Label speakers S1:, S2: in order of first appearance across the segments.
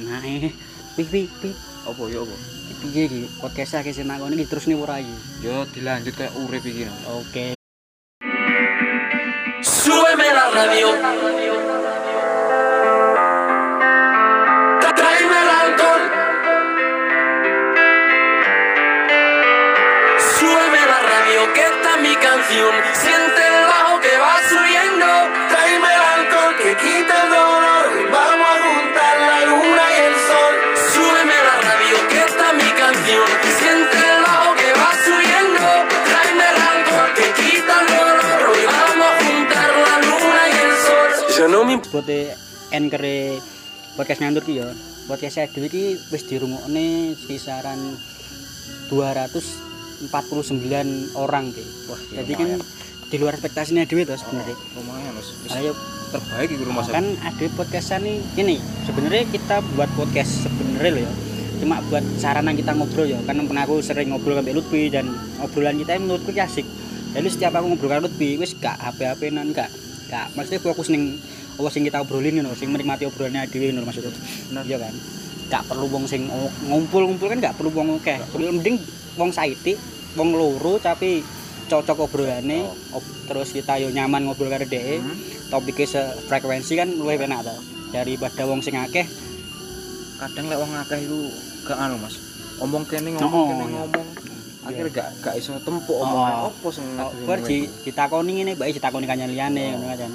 S1: maneh. eh. Pi pi pi.
S2: Apa ya apa?
S1: Piye iki? Podcast akeh sing makone iki terusne ora iki.
S2: Yo dilanjut kayak urip iki no.
S1: Oke.
S3: Súbeme la radio. Tra- Tráeme el alcohol. Súbeme la radio, que está mi canción. Siente el bajo que va subiendo. Tráeme el alcohol, que quita el dolor. Vamos a juntar la luna y el sol. Súbeme la radio, que está mi canción. Siente el bajo que va subiendo. Tráeme el alcohol, que quita el dolor. Y vamos a juntar la luna y el sol. Yo no me
S1: Bote anchor podcast ngantur ki ya. Podcast saya dhewe iki wis dirungokne kisaran 249 orang ki. Wah,
S2: iya,
S1: jadi kan
S2: lumayan.
S1: di luar ekspektasinya dhewe to sebenarnya.
S2: Lumayan Mas. Wis
S1: Ayo
S2: terbaik iki rumah
S1: kan ada podcastan nih gini sebenarnya kita buat podcast sebenarnya loh ya cuma buat sarana kita ngobrol ya karena pernah aku sering ngobrol sama Lutfi dan obrolan kita yang menurutku ki asik jadi setiap aku ngobrol sama Lutfi wis gak HP-HP nan gak gak maksudnya fokus ning apa sing kita obrolin ngono sing menikmati obrolannya dhewe ngono maksudku
S2: Bener.
S1: iya kan gak perlu wong sing o- ngumpul-ngumpul kan gak perlu wong akeh mending wong saiti wong loro tapi cocok obrolannya ob- terus kita yo nyaman ngobrol karo dhek
S2: Hmm.
S1: topiknya e sefrekuensi kan luwih enak to daripada wong sing akeh
S2: kadang lek wong akeh iku gak anu Mas. Omong kene
S1: Oh,
S2: ngomong kene
S1: iya.
S2: ngomong. Akhirnya gak gak iso tempuk
S1: Oh.
S2: omongan apa sing
S1: kok
S2: ngatur
S1: bar di ditakoni ngene bae ditakoni kanyan liyane
S2: Oh.
S1: ngono kan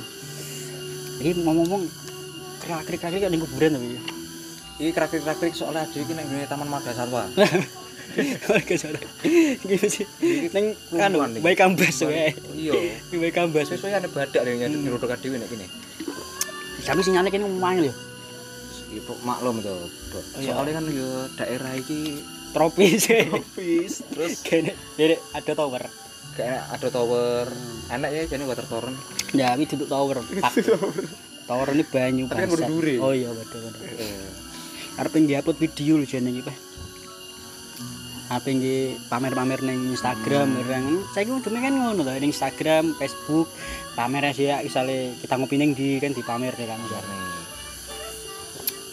S1: iki ngomong-ngomong krik-krik-krik kok ning kuburan to iki
S2: Iki krakrik-krakrik soalnya dhewe iki nang nggone Taman Marga Satwa.
S1: Warga Sorong. Gitu sih. Ning kan
S2: Kelompokan iki.
S1: bae kambas wae.
S2: Iya. Hmm.
S1: Iki bae kambas.
S2: Sesuai ana badak lho nyadut nyuruh dhewe nek kene.
S1: Kami sinyalnya kene mangel yo.
S2: Itu maklum to. Dok.
S1: Iya.
S2: Soalnya kan yo daerah iki
S1: Tropis.
S2: tropis terus
S1: Kene derek ada tower.
S2: kayak ada tower. Hmm. Enak ya jadi water torrent.
S1: Ya, iki duduk tower. Pak. Tower ini banyu
S2: Tapi kan
S1: bangsat.
S2: berduri.
S1: Oh iya, waduh. arep nge-upload video lho jenenge iki, Pak. Arep nge pamer-pamer ning Instagram bareng. Saiki udune kan ngono to ning Instagram, Facebook, pamer aja ya misale kita ngopi ning di kan dipamer kan misalnya.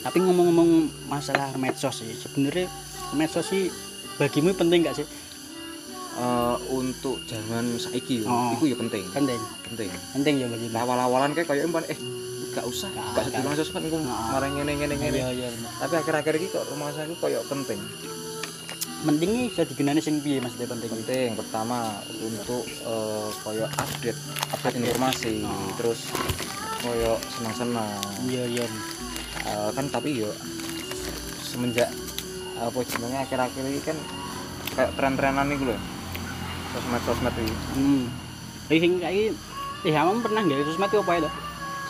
S1: Tapi ngomong-ngomong masalah medsos sih, sebenarnya medsos sih bagimu penting gak sih?
S2: Eh, untuk jangan saiki yo.
S1: Oh.
S2: Iku yo penting. kan
S1: Penting.
S2: Penting.
S1: Penting ya bagimu.
S2: Awal-awalan kayak kayak empan eh gak usah,
S1: Gak-
S2: gak sedulur langsung kan ngomong
S1: Nah.
S2: marang ngene ngene ngene.
S1: Iya, iya. bener.
S2: Tapi akhir-akhir ini kok rumah saya kayak penting.
S1: Penting iki iso digunani sing piye Mas penting iki?
S2: Penting pertama untuk eh, kayak update update informasi,
S1: Nah.
S2: terus kayak senang-senang.
S1: Iya, iya.
S2: Eh, kan tapi yo semenjak apa jenenge akhir-akhir ini kan kayak tren-trenan nih lho. Sosmed-sosmed iki.
S1: Hmm. Iki sing saiki eh kamu pernah nggak sosmed itu apa itu?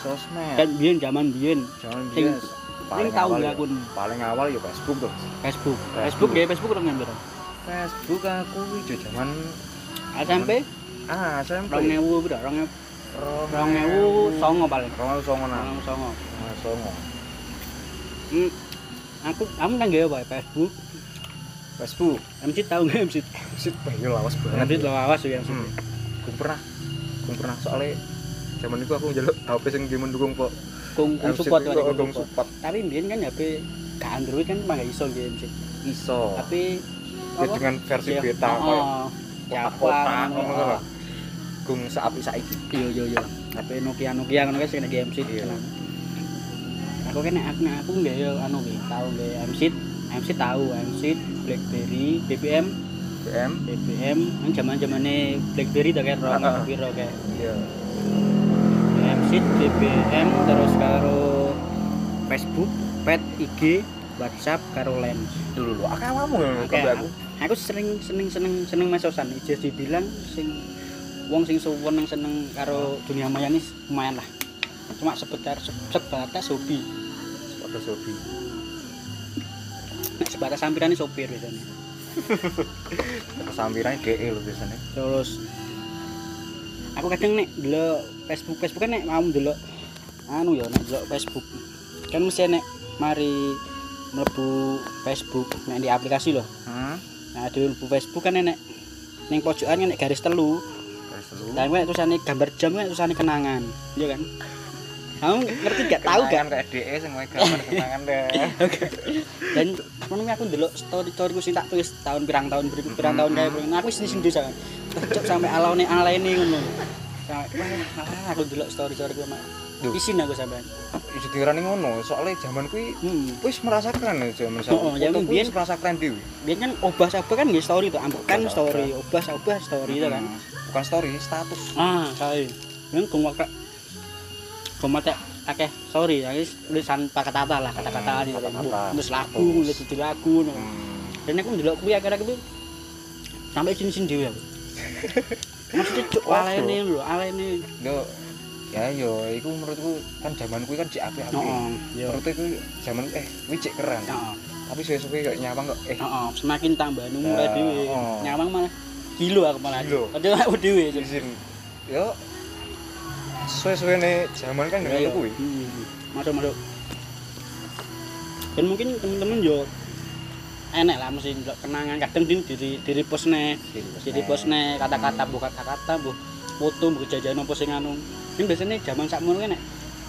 S2: Sosmed.
S1: Kan biyen zaman biyen
S2: Jangan
S1: sing-
S2: bias. Paling
S1: tahu
S2: awal ya.
S1: nggak
S2: yo-
S1: akun?
S2: paling awal ya Facebook tuh.
S1: Facebook. Facebook
S2: Facebook.
S1: ya Facebook orang ngambil.
S2: Facebook aku itu zaman
S1: SMP
S2: ah SMP.
S1: rong ewu bro, rong ewu, rong ewu songo paling.
S2: Rong ewu songo nah.
S1: Rong songo.
S2: Rong ewu songo.
S1: Hmm. Aku kamu kan gak apa ya Facebook.
S2: Facebook.
S1: MC tahu nggak MC?
S2: Sit bayu lawas
S1: MC
S2: banget.
S1: lo awas ya MC.
S2: Hmm. Gue pernah. Gue pernah soalnya zaman itu aku njaluk HP sing game mendukung kok.
S1: Kung kung support
S2: kok
S1: wae kung
S2: kung
S1: support.
S2: support.
S1: Tapi mbien kan HP ke Android kan mah nggak iso nggih MC.
S2: Iso.
S1: Tapi
S2: Ya, dengan versi
S1: Ya,
S2: Oh. beta
S1: oh,
S2: kayak
S1: ya
S2: kotak-kotak,
S1: apa,
S2: ngono
S1: oh.
S2: lho. gung seapi saiki.
S1: Iya iya iya. Tapi Nokia Nokia ngono kan sing nek MC
S2: Iya.
S1: tenan. Aku kan nek aku nek aku nggak ya anu ki, tahu nggak MC MC tahu MC BlackBerry BBM
S2: BM.
S1: BBM kan zaman-zamane BlackBerry to kan ora
S2: Heeh.
S1: piro kayak
S2: Iya.
S1: MC BBM terus karo Facebook, Pet, IG, WhatsApp karo Lens.
S2: Dulu lu akeh awakmu ngono
S1: Oke,
S2: aku.
S1: aku, aku sering seneng seneng seneng mesosan ijaz dibilang sing wong sing suwon yang seneng karo dunia maya ini lumayan lah cuma sebentar se- sebatas hobi
S2: Sepeda sobi.
S1: nah, sebatas sampiran sopir biasanya
S2: Kesampiran DE E lho biasanya.
S1: terus aku kadang nek dulu Facebook Facebook kan nek mau dulu anu ya nek dulu Facebook kan mesti nek mari mlebu Facebook nek di aplikasi loh
S2: Hmm.
S1: nah di mlebu Facebook kan nek ning pojokan nek garis telu
S2: Terus lu.
S1: Dan gue tulisannya gambar jam kan tulisannya kenangan, iya kan? kamu ngerti gak tahu gak Iya.
S2: Kenangan kayak DE sing wae gambar kenangan deh.
S1: dan menurut aku delok story storyku sing tak tulis tahun pirang tahun berikut pirang tahun kayak berikut aku sini sendiri sama cocok sampai alaune alaine ngono sampai wah alah, aku delok story storyku mak
S2: Duh.
S1: isin aku sampai
S2: Iso diarani ngono, soalnya zaman kuwi
S1: hmm.
S2: wis merasa keren ya zaman saya.
S1: Oh, zaman
S2: Fotoku
S1: biyen.
S2: wis merasa keren dhewe.
S1: biar kan obas obas kan ya story tuh ambekan story obas obas story itu kan
S2: Bukan story, status.
S1: ah kali ini gue mau gue mau tak akeh sorry ya guys tulisan pakai tata lah kata-kata
S2: Hmm,
S1: ini
S2: kata-kata.
S1: terus lagu terus jadi lagu no.
S2: Hmm.
S1: dan aku ndelok kuwi akhir-akhir kuwi sampai sini sini dhewe aku. Maksudnya cuk
S2: Waduh.
S1: alene lho, alene.
S2: Yo ya yo iku menurutku kan zaman kuwi kan jek apik-apik.
S1: Heeh, yo.
S2: Menurutku iku zaman eh kuwi jek keren.
S1: Heeh,
S2: Tapi suwe-suwe kok nyawang kok eh
S1: heeh, semakin tambah umur
S2: Ya,
S1: dhewe.
S2: oh.
S1: Nyawang malah kilo aku malah.
S2: Kilo.
S1: Padahal aku dhewe. Cuk.
S2: izin. iya Yo suwe-suwe ne zaman kan
S1: Iya,
S2: ngono kuwi.
S1: hmm, Masuk masuk. Dan mungkin temen-temen yo enak lah mesti ndelok kenangan kadang di diri diri posne
S2: Iya.
S1: jadi posne kata-kata
S2: Hmm.
S1: bukan kata-kata bu foto bu jajan apa sing anu ini biasanya zaman saat kan nek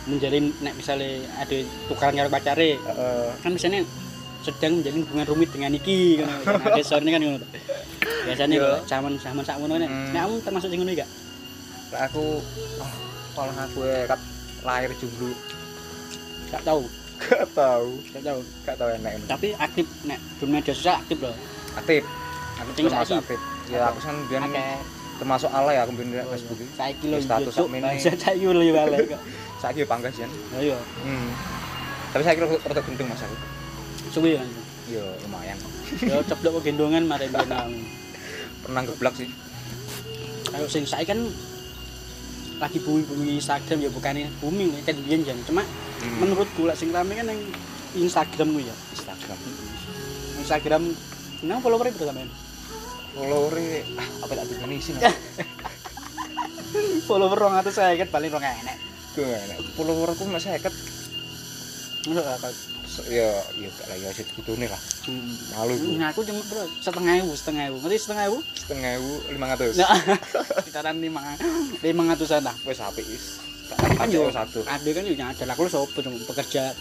S1: menjalin nek misalnya ada tukaran karo pacare
S2: Heeh.
S1: kan misalnya sedang menjalin hubungan rumit dengan iki kan ada sore kan ngono biasanya
S2: Iya.
S1: kalau zaman zaman saat kan
S2: Hmm.
S1: nek kamu termasuk sing ngono gak
S2: Lah aku ah, tolong aku ya kat lahir jomblo
S1: gak tahu
S2: gak tau
S1: gak tahu
S2: gak tau enak ini.
S1: tapi aktif nek di media sosial aktif loh
S2: aktif aku
S1: Sing
S2: termasuk
S1: saiki.
S2: aktif ya aku kan biyen
S1: Akeh. iya.
S2: termasuk alay aku biyen di Facebook iki
S1: saya kilo
S2: Status
S1: status
S2: admin.
S1: saya saya kilo balik kok
S2: saiki yo panggasian
S1: ayo
S2: hmm. tapi saiki rada rada gendeng mas aku
S1: suwi kan
S2: yo lumayan
S1: yo ceplok gendongan mari berenang
S2: pernah geblak sih
S1: kalau sing saya kan lagi bumi-bumi Instagram ya bukannya booming ya kan biyen jan cuma
S2: hmm.
S1: menurutku lek sing rame kan yang Instagram ku ya
S2: Instagram
S1: Instagram nang follower itu sampean
S2: followere ah apa tak dikene isin
S1: follower 200 saya kan paling rong enek
S2: gimana followerku masih heket
S1: Masuk apa?
S2: So, ya ya gak lah ya sih kudune lah
S1: Hmm.
S2: malu iku.
S1: Nah, aku cuma bro, setengah ewu, setengah ewu. Ngerti setengah ewu?
S2: setengah ewu lima ratus
S1: Nah, sekitaran lima, lima ratusan lah.
S2: wes apik is tak
S1: Kan
S2: tak
S1: yo,
S2: satu
S1: ada kan yo nyadar. Aku lu sopo cuma pekerja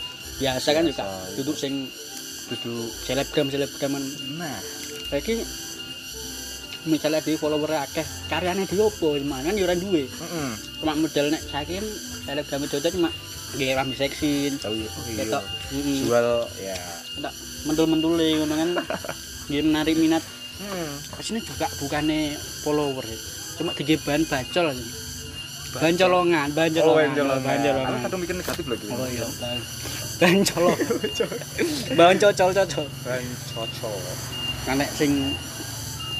S1: biasa kan juga
S2: Biasa.
S1: duduk sing
S2: duduk
S1: selebgram selebgram kan.
S2: nah
S1: Saiki misalnya di follower akeh, karyane dhewe opo? Mangan yo kan ya ora duwe.
S2: heeh
S1: Cuma model nek saiki kan selebgram itu cuma nggih rame seksi.
S2: tahu ya oh, iya.
S1: Ketok. Heeh.
S2: jual ya
S1: Ketok mentul-mentule ngono kan. Nggih menarik minat.
S2: hmm.
S1: Sini juga bukannya follower ya. Cuma gede bahan bacol aja. Bahan colongan, bahan
S2: Oh,
S1: colongan.
S2: Benjolongan.
S1: Bahan
S2: Aku
S1: colongan.
S2: kadang mikir negatif lagi.
S1: Oh iya, bahan- bahan colong. Bahan cocol-cocol.
S2: Bencocol.
S1: Nek sing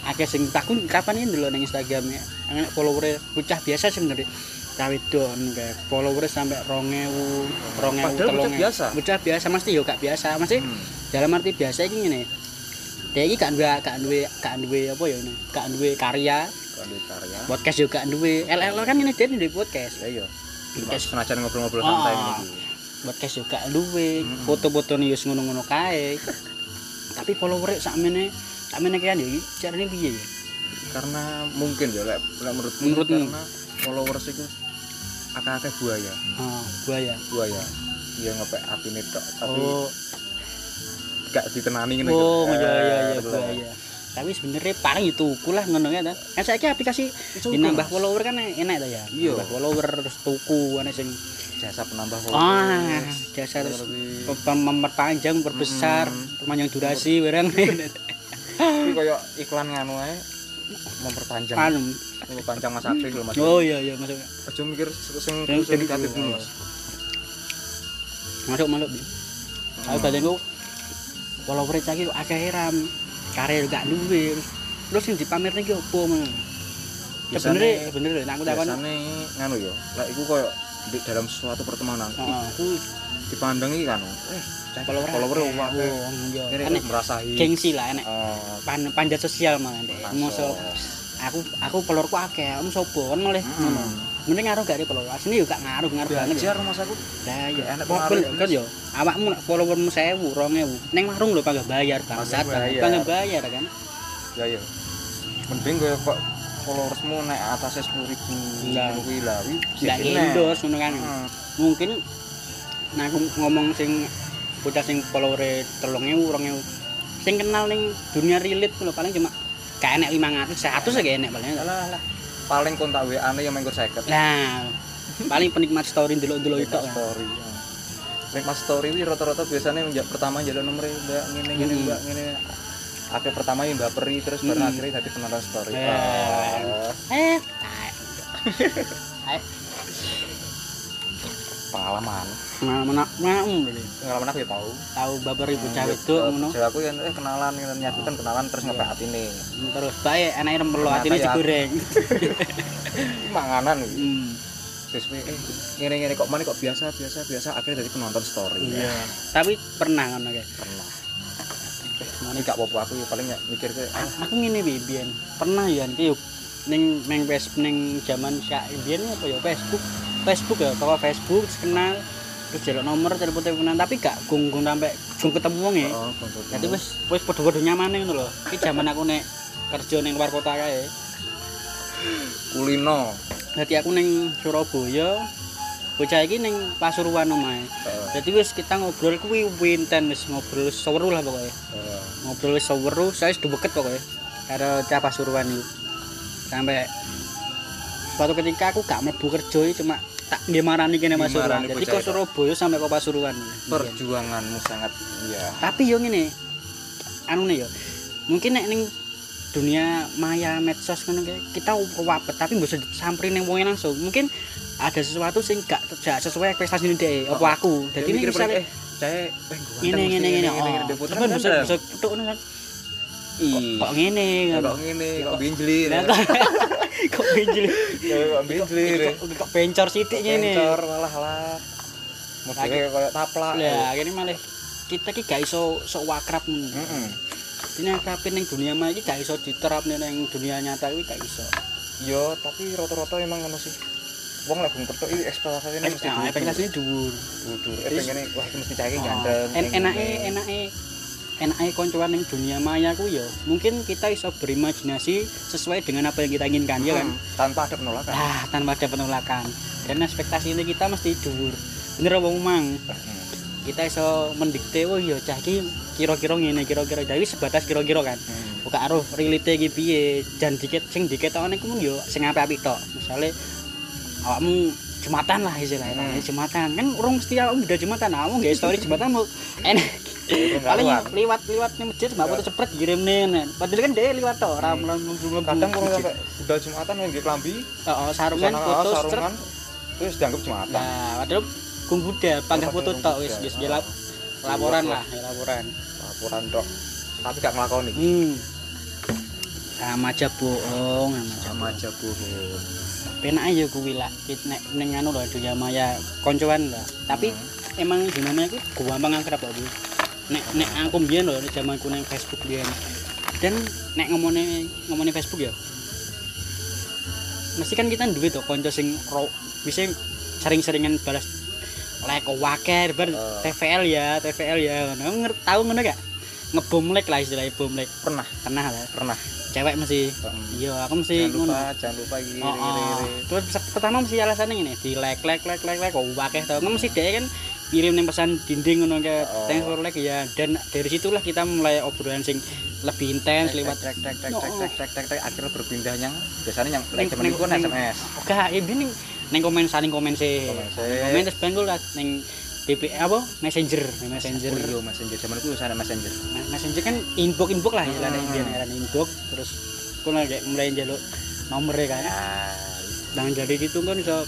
S1: akeh sing takun kapan ini dulu nang Instagram ya. Nek followernya bocah biasa sebenarnya. Cawe don kayak followernya sampai rongewu, rongewu,
S2: Padahal bocah
S1: telongewu.
S2: biasa. Hmm.
S1: Bocah biasa mesti yo gak biasa, mesti dalam arti biasa ini nih. Dia ini gak dua, gak dua, gak dua apa ya ini, gak dua karya,
S2: Kalau karya.
S1: podcast juga duwe LLO kan ini dia duwe podcast
S2: Ya iya. Cuma
S1: Podcast.
S2: senajan
S1: Oh.
S2: ngobrol-ngobrol santai gitu.
S1: podcast juga duwe
S2: Mm-mm.
S1: foto-foto nih ngono-ngono kae tapi follower sakmene sakmene kan ya carane piye ya
S2: Karena mungkin ya lek lek menurutmu
S1: Menurutmu?
S2: karena followers itu akeh-akeh buaya,
S1: ah buaya
S2: buaya. Iya ngepek atine tok, tapi
S1: oh
S2: gak ditenani ngene. gitu.
S1: oh iya iya
S2: eh,
S1: iya buaya tapi sebenarnya paling itu lah ngono ya ta kan saiki aplikasi nambah follower kan enak ta ya
S2: Iya.
S1: nambah follower terus tuku ana sing
S2: jasa penambah
S1: ah
S2: followers.
S1: jasa terus
S2: Tapi-
S1: mem- memperpanjang perbesar
S2: Mm.
S1: perpanjang durasi barang
S2: Tapi koyo iklan nganu ae memperpanjang
S1: anu
S2: memperpanjang masa aktif lho Mas.
S1: oh iya iya maksudnya
S2: Aja mikir sing
S1: Yang
S2: sing Hmm. negatif
S1: jadi-
S2: dulu Mas.
S1: masuk masuk aku
S2: Hmm.
S1: badanku follower cagi akeh ram karir gak duwe terus sing dipamerne ki opo men sebenere
S2: Biasane-
S1: bener nek aku takon
S2: biasane nganu yo lek iku koyo di dalam suatu pertemanan
S1: Heeh.
S2: iku dipandang iki kan eh
S1: Oh, follower
S2: follower
S1: akeh.
S2: wah
S1: Oh, iya.
S2: kene
S1: Enek
S2: merasai
S1: gengsi lah enek
S2: eh,
S1: pan panjat sosial malah deh
S2: Masuk.
S1: musuh aku aku followerku akeh om sopo kan malah
S2: Mm.
S1: ngono mending ngaruh gak deh follower asline yo gak ngaruh ngaruh banget ya
S2: belajar mas aku
S1: Lah iya
S2: Enak
S1: mobil
S2: pengaruh,
S1: kan yo. Awakmu nek followermu 1000, 2000, ning warung lho panggil bayar bangsat,
S2: Panggil bayar.
S1: panggil bayar kan.
S2: ya ya mending koyo kok followersmu naik atasnya sepuluh ribu
S1: Lah.
S2: kuwi lah kuwi bisa
S1: nggak
S2: kena.
S1: endorse ngono kan
S2: Hmm.
S1: mungkin nah aku ngomong sing bocah sing follower telung ewu rong ewu sing kenal ning dunia relate lho paling cuma gak enek 500 100 ya gak enek paling
S2: Alah, alah. paling kontak WA ane yang mengkur seket
S1: nah paling penikmat story delok-delok itu
S2: Link story Link mas story wi rata-rata biasanya menjak pertama jalan nomor mbak ngene ngene
S1: Hmm.
S2: mbak ngene akhirnya pertama yang mbak peri terus baru
S1: Hmm.
S2: akhirnya jadi penonton story
S1: Eh.
S2: Ah,
S1: eh taek. Taek.
S2: pengalaman
S1: pengalaman aku mau dulu.
S2: pengalaman aku ya tahu
S1: tahu babar ibu
S2: Hmm,
S1: cewek
S2: ya,
S1: itu ngono Iya.
S2: bocah aku yang eh kenalan gitu nyatu kan kenalan terus ngepek hati nih
S1: terus bae enake rembelo
S2: Ternyata
S1: atine
S2: ya.
S1: digoreng
S2: Ini manganan gitu
S1: Hmm,
S2: terus wi, eh ngene ngene kok mana kok biasa biasa biasa akhirnya jadi penonton story
S1: iya tapi pernah ngono kayak
S2: pernah ini gak apa-apa aku ya paling ya mikir ke ah,
S1: aku ngene piye biyen pernah ya iki yo ning ning Facebook ning jaman sak biyen apa ya Facebook Facebook ya toko Facebook terus kenal terus jaluk nomor telepon teleponan tapi gak gunggung sampai gunggung ketemu wong ya
S2: oh, konsultan.
S1: jadi wis wis padha-padha nyamane ngono lho iki jaman aku nek kerja ning luar kota kae
S2: kulino
S1: dadi aku ning Surabaya bocah iki ning Pasuruan omahe
S2: Eh,
S1: jadi wis kita ngobrol kuwi winten wis ngobrol wis seweru lah pokoknya
S2: eh,
S1: ngobrol wis seweru saya sudah beket pokoknya karo cah pasuruan itu sampai suatu ketika aku gak mlebu kerja iki, cuma tak nggih marani kene pasuruan
S2: Dimarani
S1: jadi
S2: bocah
S1: kok
S2: itu.
S1: Surabaya sampai kok pasuruan Iya.
S2: perjuanganmu sangat ya
S1: tapi yo ngene anu nih yo mungkin nek ning dunia maya medsos ngono kae, kita kewapet tapi bisa samperin ning wonge langsung mungkin ada sesuatu sing gak gak sesuai ekspektasi dhek apa aku
S2: jadi
S1: jadi ini
S2: mikir
S1: misalnya
S2: eh saya
S1: ngene ngene ngene oh temen bisa bisa tutuk ngono kan kok ngene kan
S2: kok ngene kok binjlir ya. Iya,
S1: Lah, kok- kok benjil
S2: kok binjlir
S1: Kok- kok pencor sithik ngene
S2: Kencor, malah lah modelnya kayak taplak ya.
S1: lah kene malah kita ki gak iso sok wakrab ngono
S2: Heeh.
S1: ini akrabin ning dunia maya iki gak iso diterapne ning dunia nyata iki gak iso
S2: yo Iya, tapi rata-rata emang ngono sih wong lagi ngerti ini ekspektasinya mesti
S1: nah ekspektasine dhuwur
S2: dudur eh pengennya wah ini mesti cahaya ganteng
S1: Oh, en enake enake enake koncoan ning dunia maya ku ya mungkin kita iso berimajinasi sesuai dengan apa yang kita inginkan ya
S2: Hmm.
S1: kan
S2: Iya tanpa ada penolakan
S1: ah tanpa ada penolakan dan ekspektasi ini kita mesti dhuwur bener wong mang
S2: Heeh.
S1: kita iso mendikte oh iya cah iki kira-kira ngene kira-kira tapi sebatas kira-kira kan
S2: Hmm.
S1: buka aruh relate iki piye dan dikit sing diketokne ku mun yo sing apik-apik tok misale awakmu jumatan lah istilahnya
S2: Hmm.
S1: hmm. jumatan kan urung mesti awakmu udah jumatan awakmu nggak story jumatan mau enak paling
S2: Keluar.
S1: liwat-liwat nih masjid mbak foto cepet kirim nih padahal kan dia liwat tok ora mlebu-mlebu
S2: Hmm. kadang kurang
S1: masjid.
S2: sampai budal jumatan yang nggih klambi
S1: Heeh, sarungan
S2: busana
S1: foto
S2: kaos,
S1: seret.
S2: sarungan terus dianggap jumatan
S1: Nah, padahal gung Buddha panggah
S2: Tempat
S1: foto
S2: yang
S1: tok
S2: Buddha.
S1: wis wis
S2: Ah.
S1: gelap laporan lah, ya, laporan.
S2: laporan dok tapi gak ngelakoni
S1: Hmm. Sama aja bohong, sama aja.
S2: sama aja bohong
S1: Penak ya kuwi lah, Kit- nek ning anu lho dunia maya koncoan lah. Tapi emang dinamanya iku gampang akrab kok. Bu. Nek nek aku mbiyen lho nek jamanku nang Facebook mbiyen. Dan nek ngomongnya ngomongnya Facebook ya. Mesti kan kita duwe to kanca sing ro, bisa sering-seringan balas like waker ber
S2: Eh.
S1: TVL ya, TVL ya. Ngono Ngerti- tahu ngono gak? Ngebom like lah istilahnya bom like.
S2: pernah
S1: Pernah lah.
S2: pernah
S1: Cewek mesti Iya, aku mesti
S2: jangan
S1: ngono.
S2: lupa jangan lupa gini
S1: Oh,
S2: gini
S1: oh.
S2: gini
S1: Terus se- pertama mesti alasannya ngene, di like like like like like kok akeh to. Kan mesti dhek kan kirim ning pesan dinding ngono ke
S2: Oh.
S1: thanks for like ya dan dari situlah kita mulai obrolan sing lebih intens lewat Oh,
S2: tek tek tek
S1: No.
S2: tek tek tek tek tek akhirnya berpindah yang biasanya yang
S1: Neng-
S2: lek zaman
S1: neng-
S2: itu kan
S1: neng-
S2: SMS
S1: Oga, ya ini neng komen saling komen sih.
S2: Komen sih.
S1: Komen terus bang lah neng DP apa messenger, Neng messenger.
S2: Oh iya messenger zaman itu sana messenger
S1: Nah, messenger kan inbox inbox lah istilahnya
S2: Hmm.
S1: biar ngaran inbox terus aku lagi mulai njaluk nomornya kan.
S2: Ya,
S1: Nah, jadi itu kan iso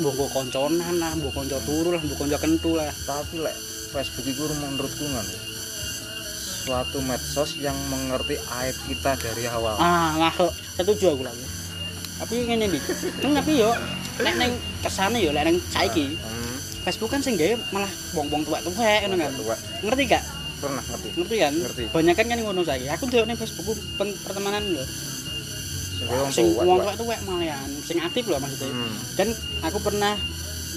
S1: mbok konconan lah, mbok konco turu lah, mbok konco kentu lah.
S2: tapi lek Facebook itu menurutku kan suatu medsos yang mengerti aib kita dari awal
S1: ah ngaku setuju aku lagi tapi ngene nih kan tapi yo nek neng kesana yo lek neng saiki
S2: Hmm,
S1: Facebook kan sing gawe malah wong-wong tua tua ngono kan
S2: tua
S1: ngerti gak
S2: pernah ngerti
S1: ngerti kan
S2: Ngerti.
S1: banyak kan kan ngono saiki aku delok neng Facebookku pen- pertemanan lho
S2: Sebelum
S1: sing
S2: tua,
S1: wong
S2: tua.
S1: tua tua malahan sing aktif lho maksudnya
S2: Hmm.
S1: dan aku pernah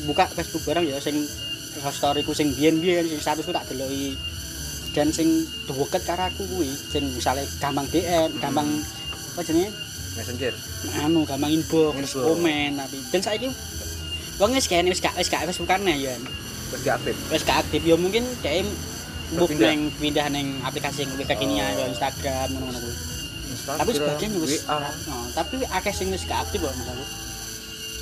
S1: buka Facebook bareng ya sing storyku sing biyen-biyen sing statusku tak deloki dan sing deket karo aku kuwi sing misale gampang DM, gampang apa jenenge
S2: messenger
S1: anu gampang inbox,
S2: Hmm. Inbox.
S1: komen tapi dan saiki wong wis kene wis gak wis gak Facebookan ya.
S2: terus gak aktif
S1: Wis gak aktif ya mungkin dhek move
S2: Berpindah.
S1: neng pindah neng aplikasi yang lebih kekinian
S2: Oh.
S1: ya Instagram ngono-ngono kuwi.
S2: Instagram,
S1: Tapi sebagian juga wis
S2: WA,
S1: oh, tapi akeh sing wis gak aktif kok menurut aku.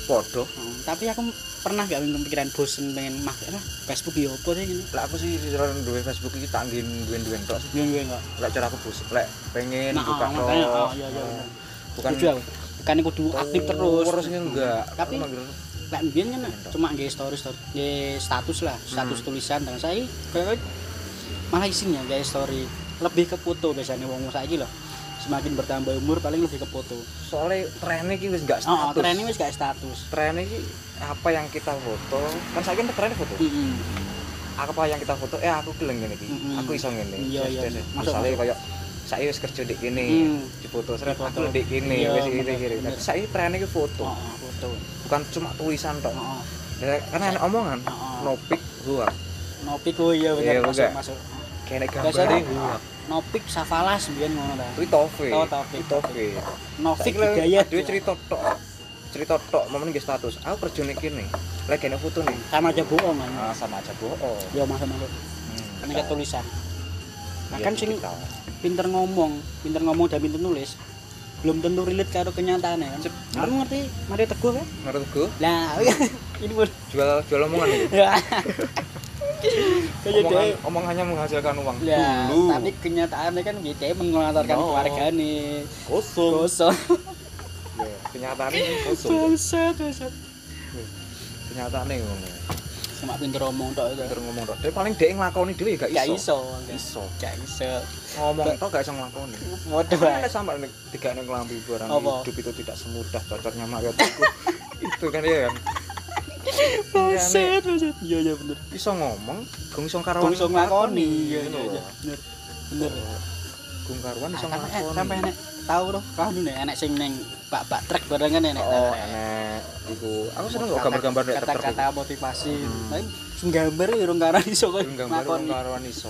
S2: podo
S1: Oh, tapi aku pernah gak kepikiran bosen pengen mak ah, Facebook ya opo sih gitu.
S2: lah aku sih sisiran duwe Facebook iki tak ngin duwe-duwe tok sih.
S1: Yo yo enggak.
S2: lek cara aku bos lek pengen
S1: Nah,
S2: buka
S1: oh,
S2: tok.
S1: makanya, oh, iya, iya, iya.
S2: bukan Oh,
S1: Setuju aku. Bukan kudu aktif terus. Hmm.
S2: terus ini enggak
S1: Tapi
S2: Aku manggil-
S1: lek mbiyen kan cuma nge story story nge status lah,
S2: Hmm.
S1: status tulisan dan saya kayak malah isinya nge story lebih ke foto biasanya wong saiki loh. Semakin bertambah umur paling lebih ke foto.
S2: soalnya trennya ki wis enggak
S1: Oh, oh
S2: Oh, status
S1: trennya wis gak status.
S2: trennya ki apa yang kita foto kan saya kan trennya foto
S1: Heeh.
S2: aku apa yang kita foto eh aku geleng ngene iki
S1: Mm-mm.
S2: aku iso ngene
S1: Hmm, Iya, iya. Masuk,
S2: misalnya
S1: masuk.
S2: kaya saya wis kerja di kene
S1: Mm.
S2: dipoto seret
S1: Dipoto.
S2: aku di kene
S1: Iya,
S2: wis iki
S1: bener,
S2: kiri
S1: bener.
S2: tapi saya trennya ki foto
S1: Oh, oh, foto.
S2: bukan cuma tulisan tok
S1: Oh, oh.
S2: Dan karena ada omongan
S1: Oh.
S2: nopik gua
S1: Nopik oh iya bener
S2: Iya,
S1: masuk
S2: enggak.
S1: masuk.
S2: kene
S1: Biasanya
S2: gambar gua
S1: Nopik Safalas mbiyen ngono ta.
S2: kuwi tofe
S1: Oh, Taufik.
S2: tofe
S1: Novik
S2: Saiki lek
S1: Hidayat.
S2: adewe cerita tok cerita tok momen nggih status aku kerja ning kene lek kene foto nih
S1: sama aja bohong kan.
S2: ah sama aja bohong
S1: Ya masuk masuk. Ini
S2: Iya,
S1: tulisan. Nah, kan sing
S2: digital.
S1: pinter ngomong, pinter ngomong dan pinter nulis belum tentu relate karo kenyataannya kan.
S2: Cep,
S1: Kamu ngerti Mario Teguh kan?
S2: menurut gua
S1: Nah, ini pun
S2: jual jual omongan nih
S1: ya. Kayak
S2: omongan,
S1: dia
S2: omongannya menghasilkan uang
S1: Ya,
S2: dulu Oh.
S1: tapi kenyataannya kan dia dia mengelatarkan
S2: No.
S1: keluarga nih.
S2: kosong
S1: Kosong.
S2: Ya, kenyataannya kosong
S1: Bangsat, bangsat.
S2: kenyataannya ngomong
S1: Cuma pinter ngomong tok itu.
S2: pinter ngomong tok dia paling dia ngelakoni dhewe gak
S1: Gak
S2: iso
S1: iso. kan?
S2: iso
S1: Gak iso.
S2: ngomong tok gak iso ngelakoni
S1: Waduh.
S2: Kan ada sampai nih, tiga nih kelambi barang
S1: Apa?
S2: hidup itu tidak semudah cocoknya Mario Teguh itu kan ya kan
S1: eh. Bangsat, bangsat. Iya, iya bener.
S2: bisa ngomong gong iso karuan
S1: Kau iso nglakoni. Iya,
S2: gitu
S1: iya,
S2: loh.
S1: iya. Bener. Bener.
S2: gong karuan iso
S1: Sampai eh, sampai
S2: nglakoni
S1: enek tahu loh, tahu nih enek sing neng bak-bak trek bareng kan enek.
S2: oh enak iku aku seneng kok gambar-gambar nek
S1: kata,
S2: teker
S1: kata motivasi. Tapi sing gambar ya urung karan iso kok
S2: Gong gambar gong
S1: lakoni.
S2: karuan iso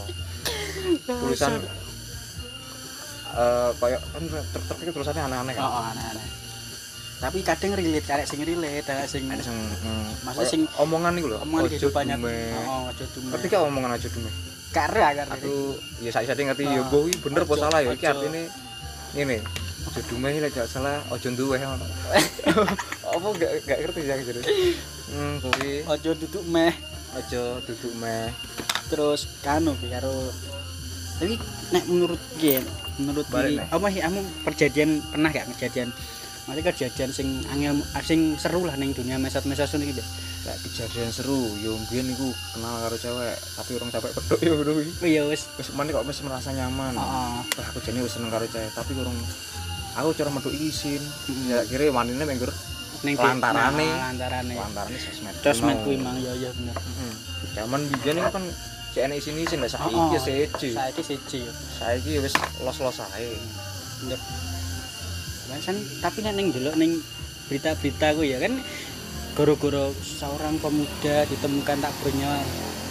S2: tulisan eh kayak kan truk-truk itu tulisannya aneh-aneh
S1: Oh, oh,
S2: kan
S1: aneh-aneh. Tapi kadang relate, karek sing relate, karek sing hmm,
S2: ada sing
S1: Maksudnya
S2: kayak
S1: sing-
S2: omongan iku lho
S1: omongan
S2: ojo
S1: kehidupannya.
S2: dumeh.
S1: Oh, aja dumeh.
S2: ngerti gak omongan aja dume
S1: Karek karek.
S2: aku ya saya saya ngerti ya
S1: Ah,
S2: boh iki bener apa
S1: ojo,
S2: salah ya iki
S1: ojo.
S2: artine ngene aja dumeh lek gak salah aja duwe ngono apa gak gak ngerti ya jadi hmm kuwi
S1: Ojo duduk meh
S2: aja duduk meh
S1: terus kanu Ki, karo tapi nek menurut gue menurut gue
S2: Balik, Nek.
S1: apa sih kamu kejadian pernah gak kejadian maksudnya kejadian sing angel ah, sing seru lah neng dunia mesot-mesot ini gitu
S2: lek kejadian seru yo mbiyen iku kenal karo cewek tapi orang capek pedok yo ngono kuwi
S1: oh iya wes
S2: wis men kok wis merasa nyaman
S1: Ah.
S2: Wah, aku jane wis seneng karo cewek tapi kurang aku cara metu isin
S1: Mm.
S2: ya kira manine menggur
S1: neng
S2: Lantarane.
S1: Ah, lantarane
S2: lantaran sosmed
S1: sosmed
S2: Mau.
S1: kuwi mang ya ya bener
S2: Hmm. Zaman biyen iku kan cek enek isin isin lah saiki
S1: Oh,
S2: ya seje.
S1: saya itu siji ya
S2: Saiki ya wis los-los ae.
S1: bener Bahasan, tapi nek neng delok neng berita-berita gue ya kan goro-goro seorang pemuda ditemukan tak bernyawa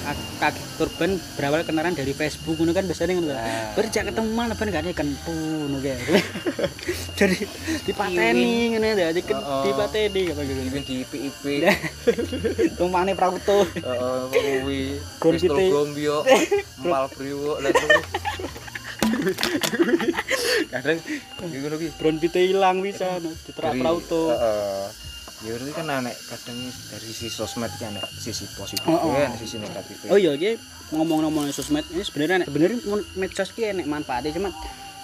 S1: Ak- kaki korban berawal kenalan dari Facebook ngono kan biasanya ngono kan.
S2: Ah.
S1: Berjak ketemuan apa enggak ada kentu ngono kayak. Jadi dipateni ngono ya, di
S2: Oh, oh.
S1: dipateni apa gitu.
S2: Iwin di PIP.
S1: Tumpane prauto.
S2: Heeh, kuwi.
S1: Gon
S2: Pistol
S1: pitik.
S2: gombyo, empal priwo lan terus. Kadang iki ngono ki.
S1: Drone pite ilang bisa diterak
S2: dari-
S1: prauto.
S2: Heeh. Ya itu kan aneh kadang dari sisi sosmed kan aneh sisi positif
S1: Oh, oh.
S2: ya, sisi negatif.
S1: Oh iya iki ngomong-ngomong sosmed ini sebenarnya enak- bener mun- medsos ki enek manfaatnya cuma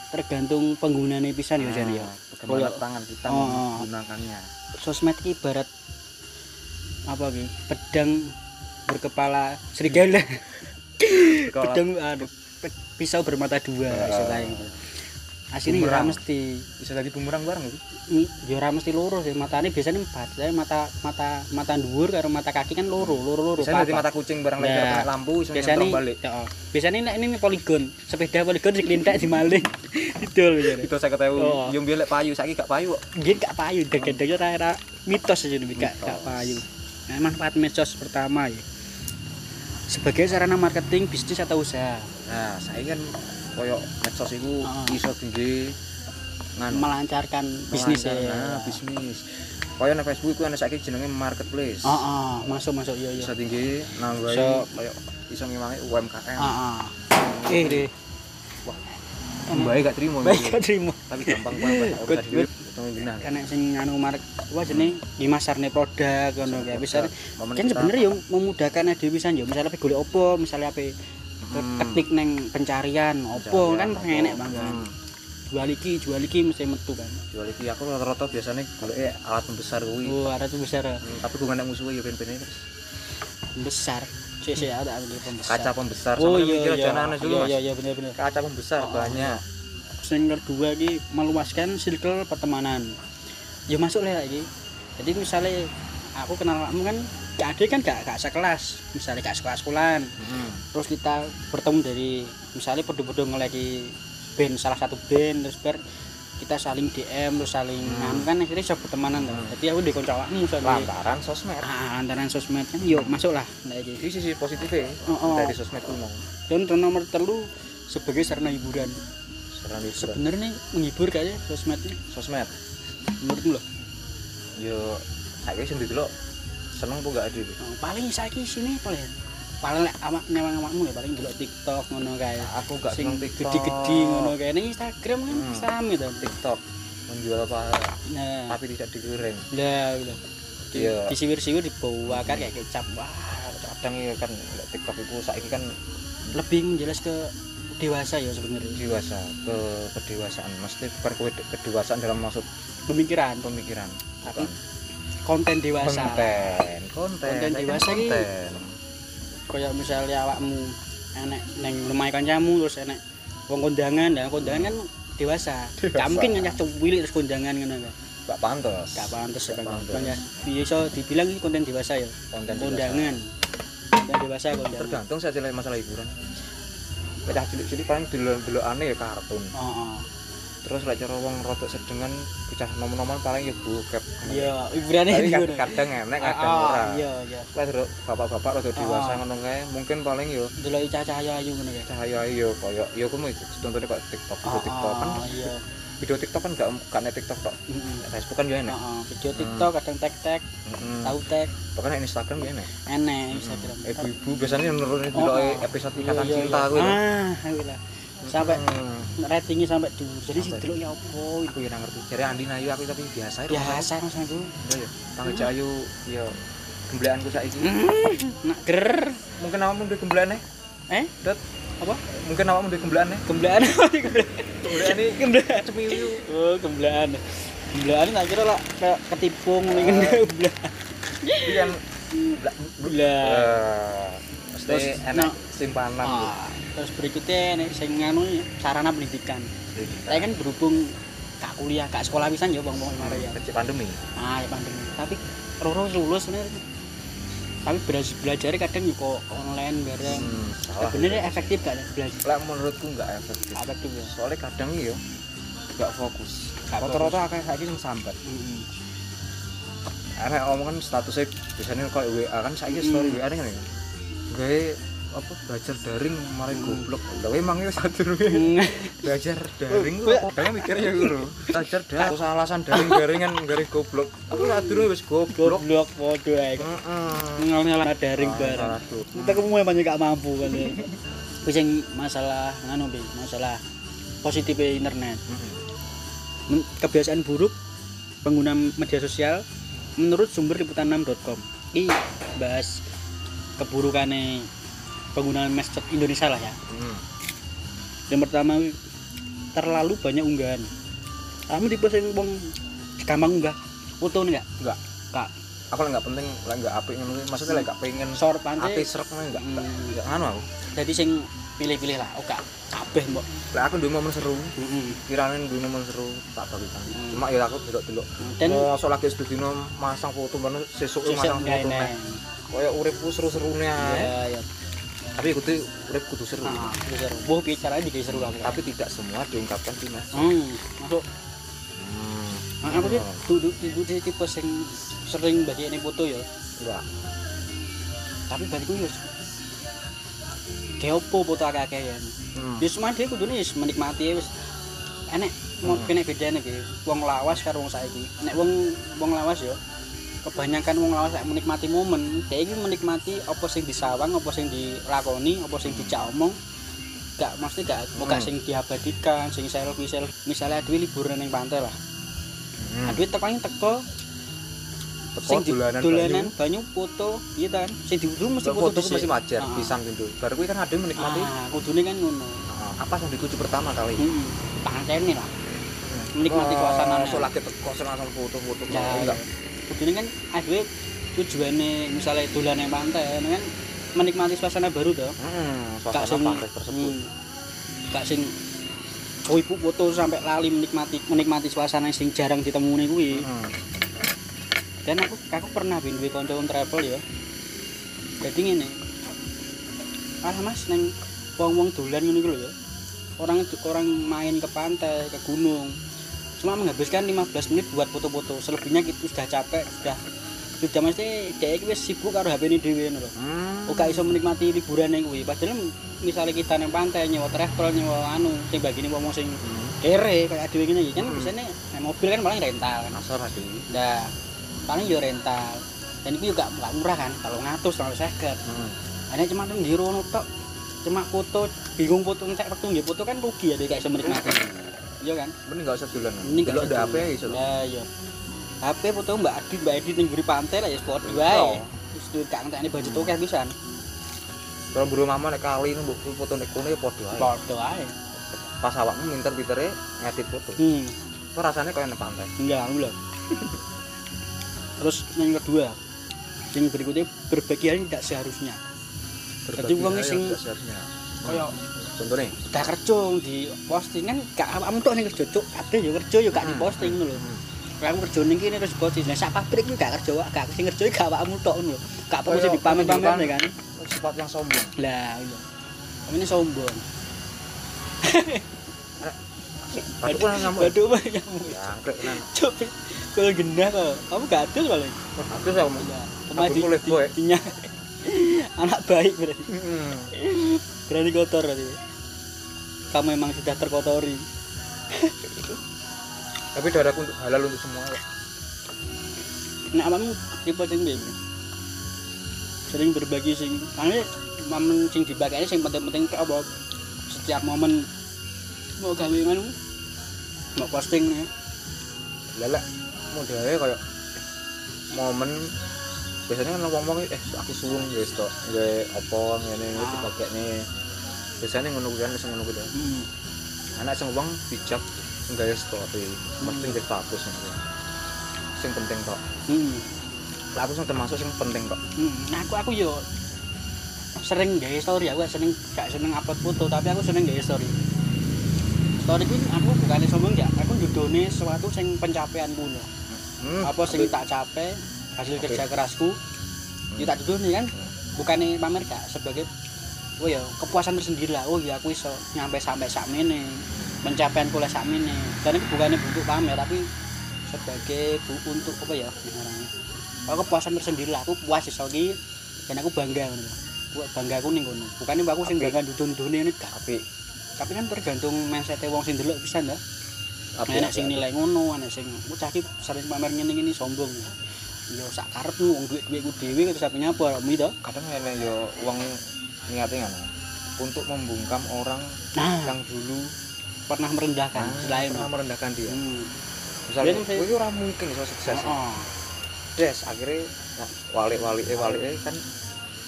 S1: tergantung penggunaannya pisan ya Jan ya.
S2: Bagaimana
S1: Koyo-
S2: tangan kita
S1: Oh, oh.
S2: menggunakannya.
S1: sosmed ki ibarat apa ki pedang berkepala serigala
S2: Kalau
S1: pedang aduh pe- pisau bermata dua
S2: Ah.
S1: istilahnya gitu aslinya ya ora
S2: Bumerang.
S1: mesti
S2: bisa jadi bumerang bareng gitu.
S1: i- ya ora mesti loro sih matanya biasanya empat Saya mata mata mata dhuwur karo mata kaki kan loro loro loro
S2: Biasanya dari
S1: papat.
S2: mata kucing barang
S1: Ya.
S2: lebar kena lampu iso
S1: biasanya
S2: nyentrong balik.
S1: ya, oh. biasanya nek ini poligon sepeda poligon dikelintek dimaling idol biasanya
S2: Itu saya ketahui,
S1: Oh.
S2: yo mbelek payu, saiki gak payu kok.
S1: Mungkin gak payu, daging-daging ora ora mitos aja nih, gak gak payu. Nah, manfaat medsos pertama ya. Sebagai sarana marketing bisnis atau usaha.
S2: Nah, saiki kan koyo medsos iku
S1: Ah.
S2: iso tinggi Nganu.
S1: Anu. melancarkan bisnis ya.
S2: Nah, bisnis. Kaya nang Facebook ku ana saiki jenenge marketplace.
S1: Oh, oh, masuk masuk iya iya.
S2: Bisa tinggi nambahi
S1: So-
S2: kaya iso ngewangi UMKM.
S1: Ah, ah. Eh, deh.
S2: Mbae gak trimo.
S1: Baik,
S2: gitu.
S1: e gak terima.
S2: Tapi gampang banget.
S1: Good, good.
S2: Ketemu benar.
S1: Karena sing anu mark wah jenenge di masarne produk ngono ya. Bisa kan sebenarnya yo memudahkan ada pisan yo misalnya ape golek opo misalnya ape
S2: Hmm.
S1: ketik neng pencarian opo kan enak banget jual iki jual iki mesti metu kan
S2: Hmm. Jual iki aku rata-rata biasanya goleke alat pembesar kuwi.
S1: wah ada tuh besar ya.
S2: Hmm, Tapi gue nggak musuh ya ben-ben terus.
S1: besar sih sih ada ada pembesar
S2: Kaca pembesar.
S1: oh
S2: Sama
S1: iya
S2: video
S1: iya
S2: jajanan dulu,
S1: iya
S2: Mas.
S1: iya iya Oh, bener bener
S2: Kaca pembesar banyak.
S1: sing kedua iki meluaskan circle pertemanan ya masuk lah iki jadi misalnya aku kenal kamu kan gak ada kan gak gak sekelas misalnya gak sekolah sekolahan
S2: Heeh.
S1: terus kita bertemu dari misalnya podo-podo ngelagi band salah satu band terus ber kita saling DM terus saling ngam kan akhirnya bisa pertemanan tuh jadi aku di koncawanmu soalnya
S2: Lantaran sosmed.
S1: ah, antara sosmed kan yuk masuk lah nah, iki.
S2: Iki sisi positifnya ya,
S1: Oh, oh.
S2: dari sosmed kuno.
S1: dan untuk nomor telu sebagai sarana hiburan
S2: Serang di
S1: sebenarnya menghibur kayaknya sosmed ini
S2: sosmed.
S1: menurutmu loh
S2: yo saya sendiri dulu seneng apa gak ada Bi?
S1: Oh, paling saiki sini paling paling lek awak nyawang awakmu lho, paling delok TikTok ngono kae.
S2: aku gak
S1: Sing
S2: seneng TikTok
S1: gede-gede ngono kae. Ning Instagram kan
S2: Hmm.
S1: sami to.
S2: TikTok menjual pahala
S1: Nah,
S2: tapi tidak digoreng
S1: lah lho. Di-
S2: Iya.
S1: Disiwir-siwir dibawa kan kayak kecap. Wah,
S2: kadang ya kan lek TikTok itu saiki kan
S1: lebih menjelas ke dewasa ya sebenarnya
S2: dewasa ke kedewasaan mesti perkowe kedewasaan dalam maksud
S1: pemikiran
S2: pemikiran
S1: Tapi
S2: bukan
S1: konten dewasa
S2: konten konten
S1: Konten
S2: saya kan
S1: dewasa ki.
S2: konten.
S1: kayak misalnya awakmu enek neng rumah kancamu terus enek wong kondangan dan kondangan kan dewasa gak
S2: Dewasa.
S1: mungkin nyacah cilik terus kondangan ngono kae
S2: gak pantas
S1: gak pantes ya
S2: Gak
S1: kan
S2: pantes.
S1: Makanya bisa dibilang ini konten dewasa ya
S2: konten dewasa.
S1: kondangan konten dewasa kondangan
S2: tergantung saya jelek masalah hiburan pecah cilik-cilik paling dulu-dulu aneh ya kartun
S1: oh, oh.
S2: terus lek cara wong rodok sedengan bocah nom-noman paling ya bokep
S1: iya hiburan
S2: tapi kan-
S1: itu
S2: kad- kadang enak kadang ora
S1: iya iya
S2: lek dulu bapak-bapak rada dewasa
S1: Ah.
S2: ngono kae mungkin paling yo
S1: dulu cahaya ayu ngono ya
S2: cahaya yo koyo yo kuwi contohnya kok TikTok video
S1: Oh,
S2: TikTok kan
S1: oh, iya
S2: video TikTok kan gak gak nek TikTok tok
S1: Mm-mm.
S2: Nek Facebook kan yo
S1: Oh,
S2: enak
S1: oh. video tiktok kadang tek tek
S2: Heeh.
S1: tahu tek
S2: bahkan nek Instagram yo enak
S1: enek Instagram
S2: ibu-ibu biasanya
S1: Oh,
S2: nurunin dulu
S1: oh.
S2: episode
S1: Iya,
S2: Nah. Eh, ikatan
S1: iya,
S2: cinta
S1: iya.
S2: kuwi lho.
S1: ah ayo lah sampai
S2: Hmm.
S1: ratingnya sampai dulu jadi sih
S2: Sampai.
S1: dulu ya apa
S2: aku yo ora ngerti jare Andi Nayu aku tapi biasa ae, Rono.
S1: biasa mas aku
S2: Iya, yo tangga Cayu yo gembleanku saiki
S1: nak ger
S2: mungkin awakmu duwe gembleane
S1: eh
S2: Dot
S1: Hmm? apa
S2: mungkin awakmu duwe gembleane
S1: kemblaan
S2: gembleane
S1: kemblaan
S2: cemiwiu
S1: Oh, kemblaan. Kemblaan tak kira lah kayak kan. ketipung mungkin
S2: Eh.
S1: kemblaan.
S2: Iki kan
S1: Belah.
S2: Eh, mesti
S1: Iya. Terus,
S2: enak
S1: no.
S2: simpanan gitu.
S1: Ah, terus berikutnya nih sing nganu ya, sarana pendidikan.
S2: Jadi
S1: Saya kan berhubung kak kuliah, kak sekolah pisan ya bang bang kemarin ya.
S2: kecil pandemi
S1: Ah, ya pandemi. Tapi loro wis lulus sebenarnya. Tapi belajar belajar kadang juga online bareng.
S2: Hmm, salah
S1: Sebenarnya efektif gak ada belajar?
S2: lah menurutku nggak efektif
S1: Gak Efektif ya.
S2: soalnya kadang yo nggak fokus
S1: Nggak
S2: rata-rata kayak saiki yang sambat
S1: Mm-mm.
S2: karena omongan kan statusnya biasanya kalau WA kan saiki
S1: Hmm.
S2: story WA kan ya gue apa belajar daring kemarin
S1: Hmm.
S2: goblok lah emangnya satu belajar daring lu kadang mikirnya gitu belajar daring terus alasan daring daringan garing goblok aku satu wis goblok
S1: Goblok podo ae.
S2: Heeh.
S1: Ngalah daring bareng.
S2: Ah, aduh.
S1: kita kamu yang banyak gak mampu kan ya Terus yang masalah nganu Bi, masalah positif internet Men- kebiasaan buruk pengguna media sosial menurut sumber liputan6.com ini bahas keburukannya penggunaan medsos Indonesia lah ya
S2: Hmm.
S1: yang pertama terlalu banyak unggahan kamu tipe yang wong gampang unggah foto nih gak?
S2: Enggak.
S1: kak
S2: Aku lah nggak penting, lah nggak apik ngono kuwi. Maksudnya lah nggak pengen
S1: sor pantai
S2: ati srek ngono nggak nggak-
S1: Hmm.
S2: nggak nganu anu aku.
S1: jadi sing pilih-pilih lah oke kabeh mbok
S2: Lah aku duwe momen seru,
S1: Mm-mm.
S2: kirane duwe momen seru tak bagikan.
S1: Hmm.
S2: Cuma ya aku delok-delok.
S1: dan
S2: Mosok Eh, lagi sedino masang foto mana sesuk
S1: Sesuk
S2: masang
S1: nggak
S2: foto.
S1: enak.
S2: neh. Kaya uripku seru-serune ae.
S1: Ya, ya.
S2: Tapi aku tuh urip kudu seru.
S1: Nah, itu seru. Wah, bicara di seru kamu.
S2: Tapi tidak semua diungkapkan di medsos.
S1: hmm, masuk.
S2: Hmm.
S1: Nah, aku sih duduk duduk di tipe sing sering bagi ini foto ya.
S2: Enggak.
S1: Tapi bagiku ya. Kayak opo foto akeh-akeh ya.
S2: Hmm.
S1: Ya semua dia kudu nih menikmati ya wis. Enek mau
S2: Hmm.
S1: kene bedane iki wong lawas karo wong saiki nek wong wong lawas yo kebanyakan wong lawas lek menikmati momen dia iki menikmati apa sing disawang apa sing dilakoni apa sing dijak omong gak mesti gak mau gak
S2: Hmm.
S1: sing diabadikan sing selfie selfie misalnya duwe liburan ning pantai lah
S2: Hmm.
S1: aduwe tekane teko
S2: Teko
S1: sing di-
S2: dolanan
S1: dolanan banyu foto iya kan sing dulu mesti
S2: Lah,
S1: foto
S2: foto ku masih
S1: dhisik.
S2: wajar
S1: Ah.
S2: pisan pintu baru kuwi kan ada yang menikmati
S1: ah kudune kan ngono
S2: ah, apa yang dituju pertama kali
S1: heeh pantai nih lah
S2: Hmm.
S1: menikmati suasananya.
S2: so lagi teko so langsung
S1: Ya,
S2: foto-foto Oh,
S1: iya.
S2: enggak
S1: Kudune kan adewe tujuane misalnya dolan nang pantai ini kan menikmati suasana baru to.
S2: hmm, suasana pantai tersebut
S1: hmm, Gak sing oh ibu foto sampai lali menikmati menikmati suasana sing jarang ditemui kuwi.
S2: Hmm.
S1: Dan aku aku pernah bin duwe kanca on travel ya. Jadi ngene. Ah Mas neng wong-wong dolan ngene iku lho ya. Orang orang main ke pantai, ke gunung. Cuma menghabiskan 15 menit buat foto-foto. Selebihnya kita sudah capek, sudah sudah mesti dhek iki wis sibuk karo HP-ne dhewe ngono lho.
S2: Hmm.
S1: Kok Oh, gak iso menikmati liburan yang kuwi. Padahal misalnya kita neng pantai nyewa travel nyewa anu sing bagine wong-wong sing
S2: Hmm.
S1: kere kayak dhewe ngene iki kan
S2: Hmm.
S1: biasanya nek mobil kan paling rental kan.
S2: Asal ada ini.
S1: Nah, paling yo rental. Dan itu juga nggak murah kan, kalau ngatus kalau seket.
S2: Hmm.
S1: Hanya cuma tuh di rono tok, cuma foto, bingung foto ngecek waktu nggak foto kan rugi ya, dia kayak semenikmati. Iya kan?
S2: Mending gak usah dolan.
S1: Ini nggak
S2: Delok
S1: usah
S2: ndak apa ya
S1: dulu.
S2: iso.
S1: Lah iya. HP foto Mbak Adi, Mbak Adi ning guri pantai lah ya spot
S2: Iya. Oh.
S1: wae. Terus dia gak ngentekne baju tokeh pisan.
S2: Kalau buru mama nek kali ini mbok foto nek kono ya padha ae.
S1: Foto ae.
S2: Pas awakmu minter pintere ngedit foto.
S1: Hmm,
S2: Itu rasanya kayak nek pantai.
S1: enggak enggak. Terus yang kedua, yang berikutnya berbagian tidak seharusnya. Jadi
S2: Berbagi
S1: wong
S2: hal yang
S1: sing-
S2: nggak seharusnya.
S1: Kayak
S2: ya Contohnya,
S1: gak kerja di posting kan gak awakmu tok sing kerja cuk kabeh yo kerja yo gak
S2: Hmm.
S1: diposting ngono lho. Lah aku kerja ning kene terus posting. Lah sak pabrik iki gak kerja wak, gak sing kerja iki gak awakmu tok ngono lho. Gak perlu
S2: Kayak
S1: sing dipamer-pamer
S2: menunjukkan-
S1: ya kan.
S2: sifat yang sombong.
S1: Lah iya. Kamu ini sombong.
S2: Aku pun ngamuk.
S1: Waduh, Pak, ya ampun.
S2: Ya, angkrek nang.
S1: Cuk. Kalau gendah kok. Kamu gak adil kalau. ini.
S2: Aku saya ngomong.
S1: Lah,
S2: Aku boleh boy.
S1: dinya. Anak baik berarti.
S2: Mm-mm.
S1: Berani kotor berarti. Kamu memang sudah terkotori.
S2: Tapi darahku untuk halal untuk semua. Pak.
S1: Nek awakmu tipe sing piye? Bro? Sering berbagi sing karena momen sing dipakai sing penting-penting tok apa setiap momen mau gawe nganu mau posting ya.
S2: Lala modelnya kayak momen biasanya kan ngomong eh aku suwung ya tok ya apa ngene
S1: Ah.
S2: dipakai nih biasanya ngono kuwi kan sing ngono kuwi kan.
S1: Hmm.
S2: anak sing wong bijak enggak ya story mesti nggak status ngono sing penting kok
S1: Hmm.
S2: lah aku sing termasuk sing penting kok
S1: hmm. Nah, aku aku yo sering gawe story aku gak seneng gak seneng upload foto tapi aku seneng gawe story. Story kuwi aku bukannya sombong ya, aku judone sesuatu sing pencapaianku. lho.
S2: hmm.
S1: Apa sing tak capek hasil
S2: Oke.
S1: kerja kerasku. Ya tak duduk nih kan. Bukannya pamer gak sebagai oh ya kepuasan tersendiri lah. Oh ya aku iso nyampe sampai sakmene. Pencapaian kula sakmene. Dan itu bukannya bentuk pamer tapi sebagai bu untuk apa ya namanya. Kalau kepuasan tersendiri lah aku puas iso iki dan aku bangga ngono. lho. Aku bangga aku ning kono. Bukannya aku sing
S2: Apik.
S1: bangga dudun-dudune ini gak.
S2: tapi
S1: Tapi kan tergantung mindset wong sing delok pisan ta.
S2: tapi ya,
S1: Enak sing nilai ngono, enak sing bocah iki sering pamer ngene-ngene sombong. Yo sak karepmu wong dhuwit-dhuwitku dhewe terus sampe nyapa rame to.
S2: kadang ngene yo wong niatnya ngono untuk membungkam orang
S1: Nah,
S2: yang dulu
S1: pernah merendahkan
S2: Ah.
S1: selain
S2: pernah
S1: no.
S2: merendahkan dia
S1: Hmm.
S2: misalnya
S1: Dia kan saya-
S2: kowe ora mungkin iso sukses
S1: Oh,
S2: des akhirnya nah, walik-walik eh walik eh kan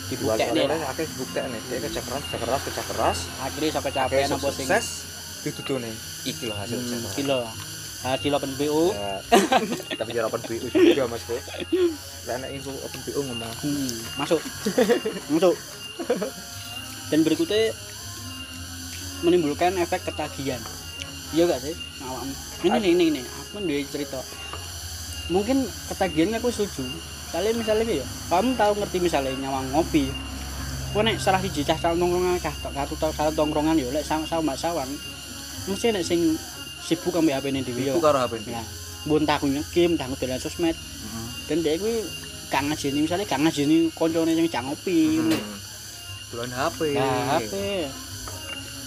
S1: dibuka
S2: walik-walik
S1: nih.
S2: eh, akhirnya bukti nih dia kerja keras kerja keras kerja keras
S1: Akhirnya sampe
S2: akhirnya
S1: capek
S2: iso
S1: napa sing.
S2: sukses dituduh nih iki loh hasil
S1: Hmm,
S2: sukses
S1: Kilo. Ah, kilo pen BO.
S2: Ya, tapi jangan open BU juga mas bro lah anak info open BU ngomong
S1: Hmm, masuk. masuk. Dan berikutnya menimbulkan efek ketagihan. Iya gak sih? Awakmu. Ini nih, ini ini aku duwe cerita. Mungkin ketagihan aku setuju. Kalian misalnya ya, kamu tahu ngerti misalnya nyawang ngopi. Kau nek salah siji cah salah tongkrongan cah tok satu tok salah tongkrongan yo lek sama sama mbak sawan. Mesti nek sing sibuk ambil HP ini dhewe yo.
S2: itu karo HP
S1: Ya, mbon tak nyekim, tak dolan sosmed, dan dia gue kang ngajeni misalnya kang ngajeni koncone yang cang ngopi
S2: Iya.
S1: ngono.
S2: bulan HP
S1: nah HP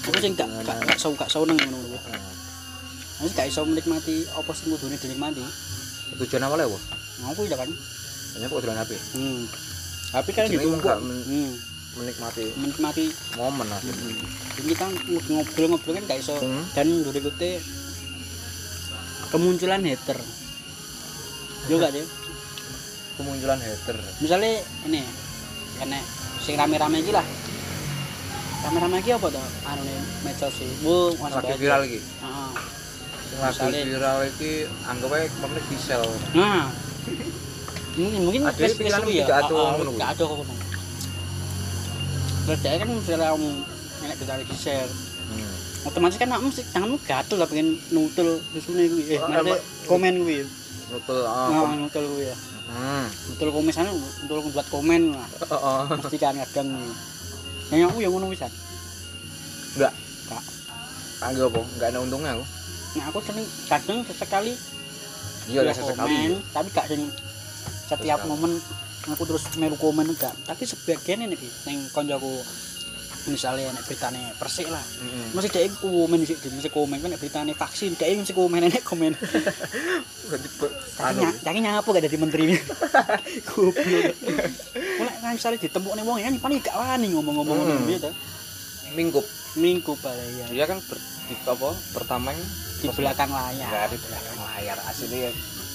S1: aku sing gak gak gak sau gak seneng ngono lho. Wis gak iso menikmati apa sing kudune dinikmati.
S2: Tujuan awalnya apa?
S1: Ngopo ya kan?
S2: Banyak kok dolan HP.
S1: Hmm. Tapi kan
S2: Jenenge
S1: ditumpuk.
S2: gak men-
S1: Hmm.
S2: menikmati
S1: Menikmati
S2: momen akhirnya.
S1: Hmm. Ini kita ngobrol-ngobrol kan gak iso
S2: Hmm.
S1: dan berikutnya kemunculan hater. Yo gak deh.
S2: Kemunculan hater.
S1: Misalnya ini kene sing rame-rame iki lah. Rame-rame iki apa to? Anu ne medsos sih. Bu, Mas
S2: Lagi
S1: Bajo.
S2: viral iki.
S1: Heeh.
S2: Sing Lagi
S1: Misalnya-
S2: viral iki anggap ae pamit diesel.
S1: Nah. Mungkin mungkin
S2: Ada yang pingin
S1: pisu
S2: tidak ada
S1: Ah, ah,
S2: ngono.
S1: Tidak ada kok. Terus dia kan misalnya kamu enak ditarik di share.
S2: Hmm.
S1: Otomatis kan kamu tanganmu gatel lah pengen nutul susune kuwi. Eh,
S2: Oh,
S1: maksudnya
S2: emang-
S1: komen kuwi.
S2: Nutul ah,
S1: Nah,
S2: kom-
S1: nutul kuwi ya.
S2: Hmm.
S1: Nutul komisane nutul buat komen lah.
S2: Heeh.
S1: Mesti kan kadang. Yang aku yang ngono wisan.
S2: Enggak.
S1: Enggak.
S2: Anggap apa? Enggak ada untungnya aku.
S1: Nah, aku sering kadang sesekali
S2: Iya,
S1: dia
S2: lah sesekali.
S1: komen, tapi gak sing setiap
S2: Sesekali.
S1: momen aku terus melu komen enggak. Tapi sebagian ini Ki, sing konjoku misalnya nek beritane persik lah.
S2: Heeh.
S1: Mesti dhek komen sik dhek mesti komen kan nek beritane vaksin dhek mesti komen nek komen.
S2: Jadi be- anu.
S1: Jangan nyapu gak jadi menteri. Goblok. Mulai kan misalnya ditempuh nih wong ini paling gak wani ngomong-ngomong
S2: Hmm.
S1: ngono gitu.
S2: Mingkup.
S1: Minggu paling ya.
S2: Dia kan ber, di apa? Pertama ini
S1: Di belakang
S2: Enggak
S1: layar.
S2: ada belakang layar aslinya.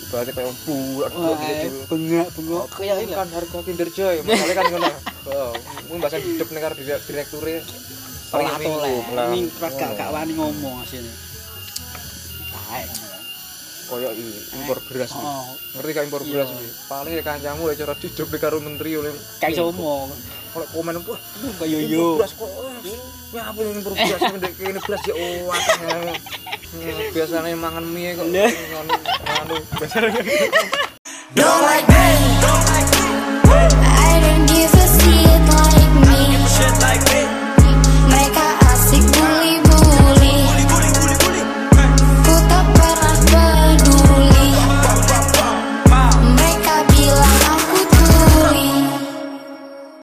S2: Berarti kayak bulat
S1: Wah, eh,
S2: gitu.
S1: bengak bengok kayak
S2: Ini
S1: ini.
S2: kan harga Kinder Joy, makanya kan ngono. Heeh. Mun bahasa hidup ning karo direk- direkture paling
S1: Ora
S2: minggu,
S1: toleh.
S2: lah.
S1: Ning gak gak
S2: Ngono.
S1: wani ngomong asine. Taek.
S2: Koyo i impor beras. iki.
S1: Oh,
S2: Ngerti gak impor
S1: Iya.
S2: beras iki? Paling ya kancamu ya cara hidup ning karo menteri oleh
S1: kayak iso ngomong.
S2: Kalau komen wah,
S1: Kayak
S2: impor
S1: yo.
S2: beras kok. eh, Ya apa yang impor beras ini ndek kene beras ya wah. Biasanya mangan mie kok
S1: Lah.
S2: ngono. Anu, biasanya
S3: Don't like that.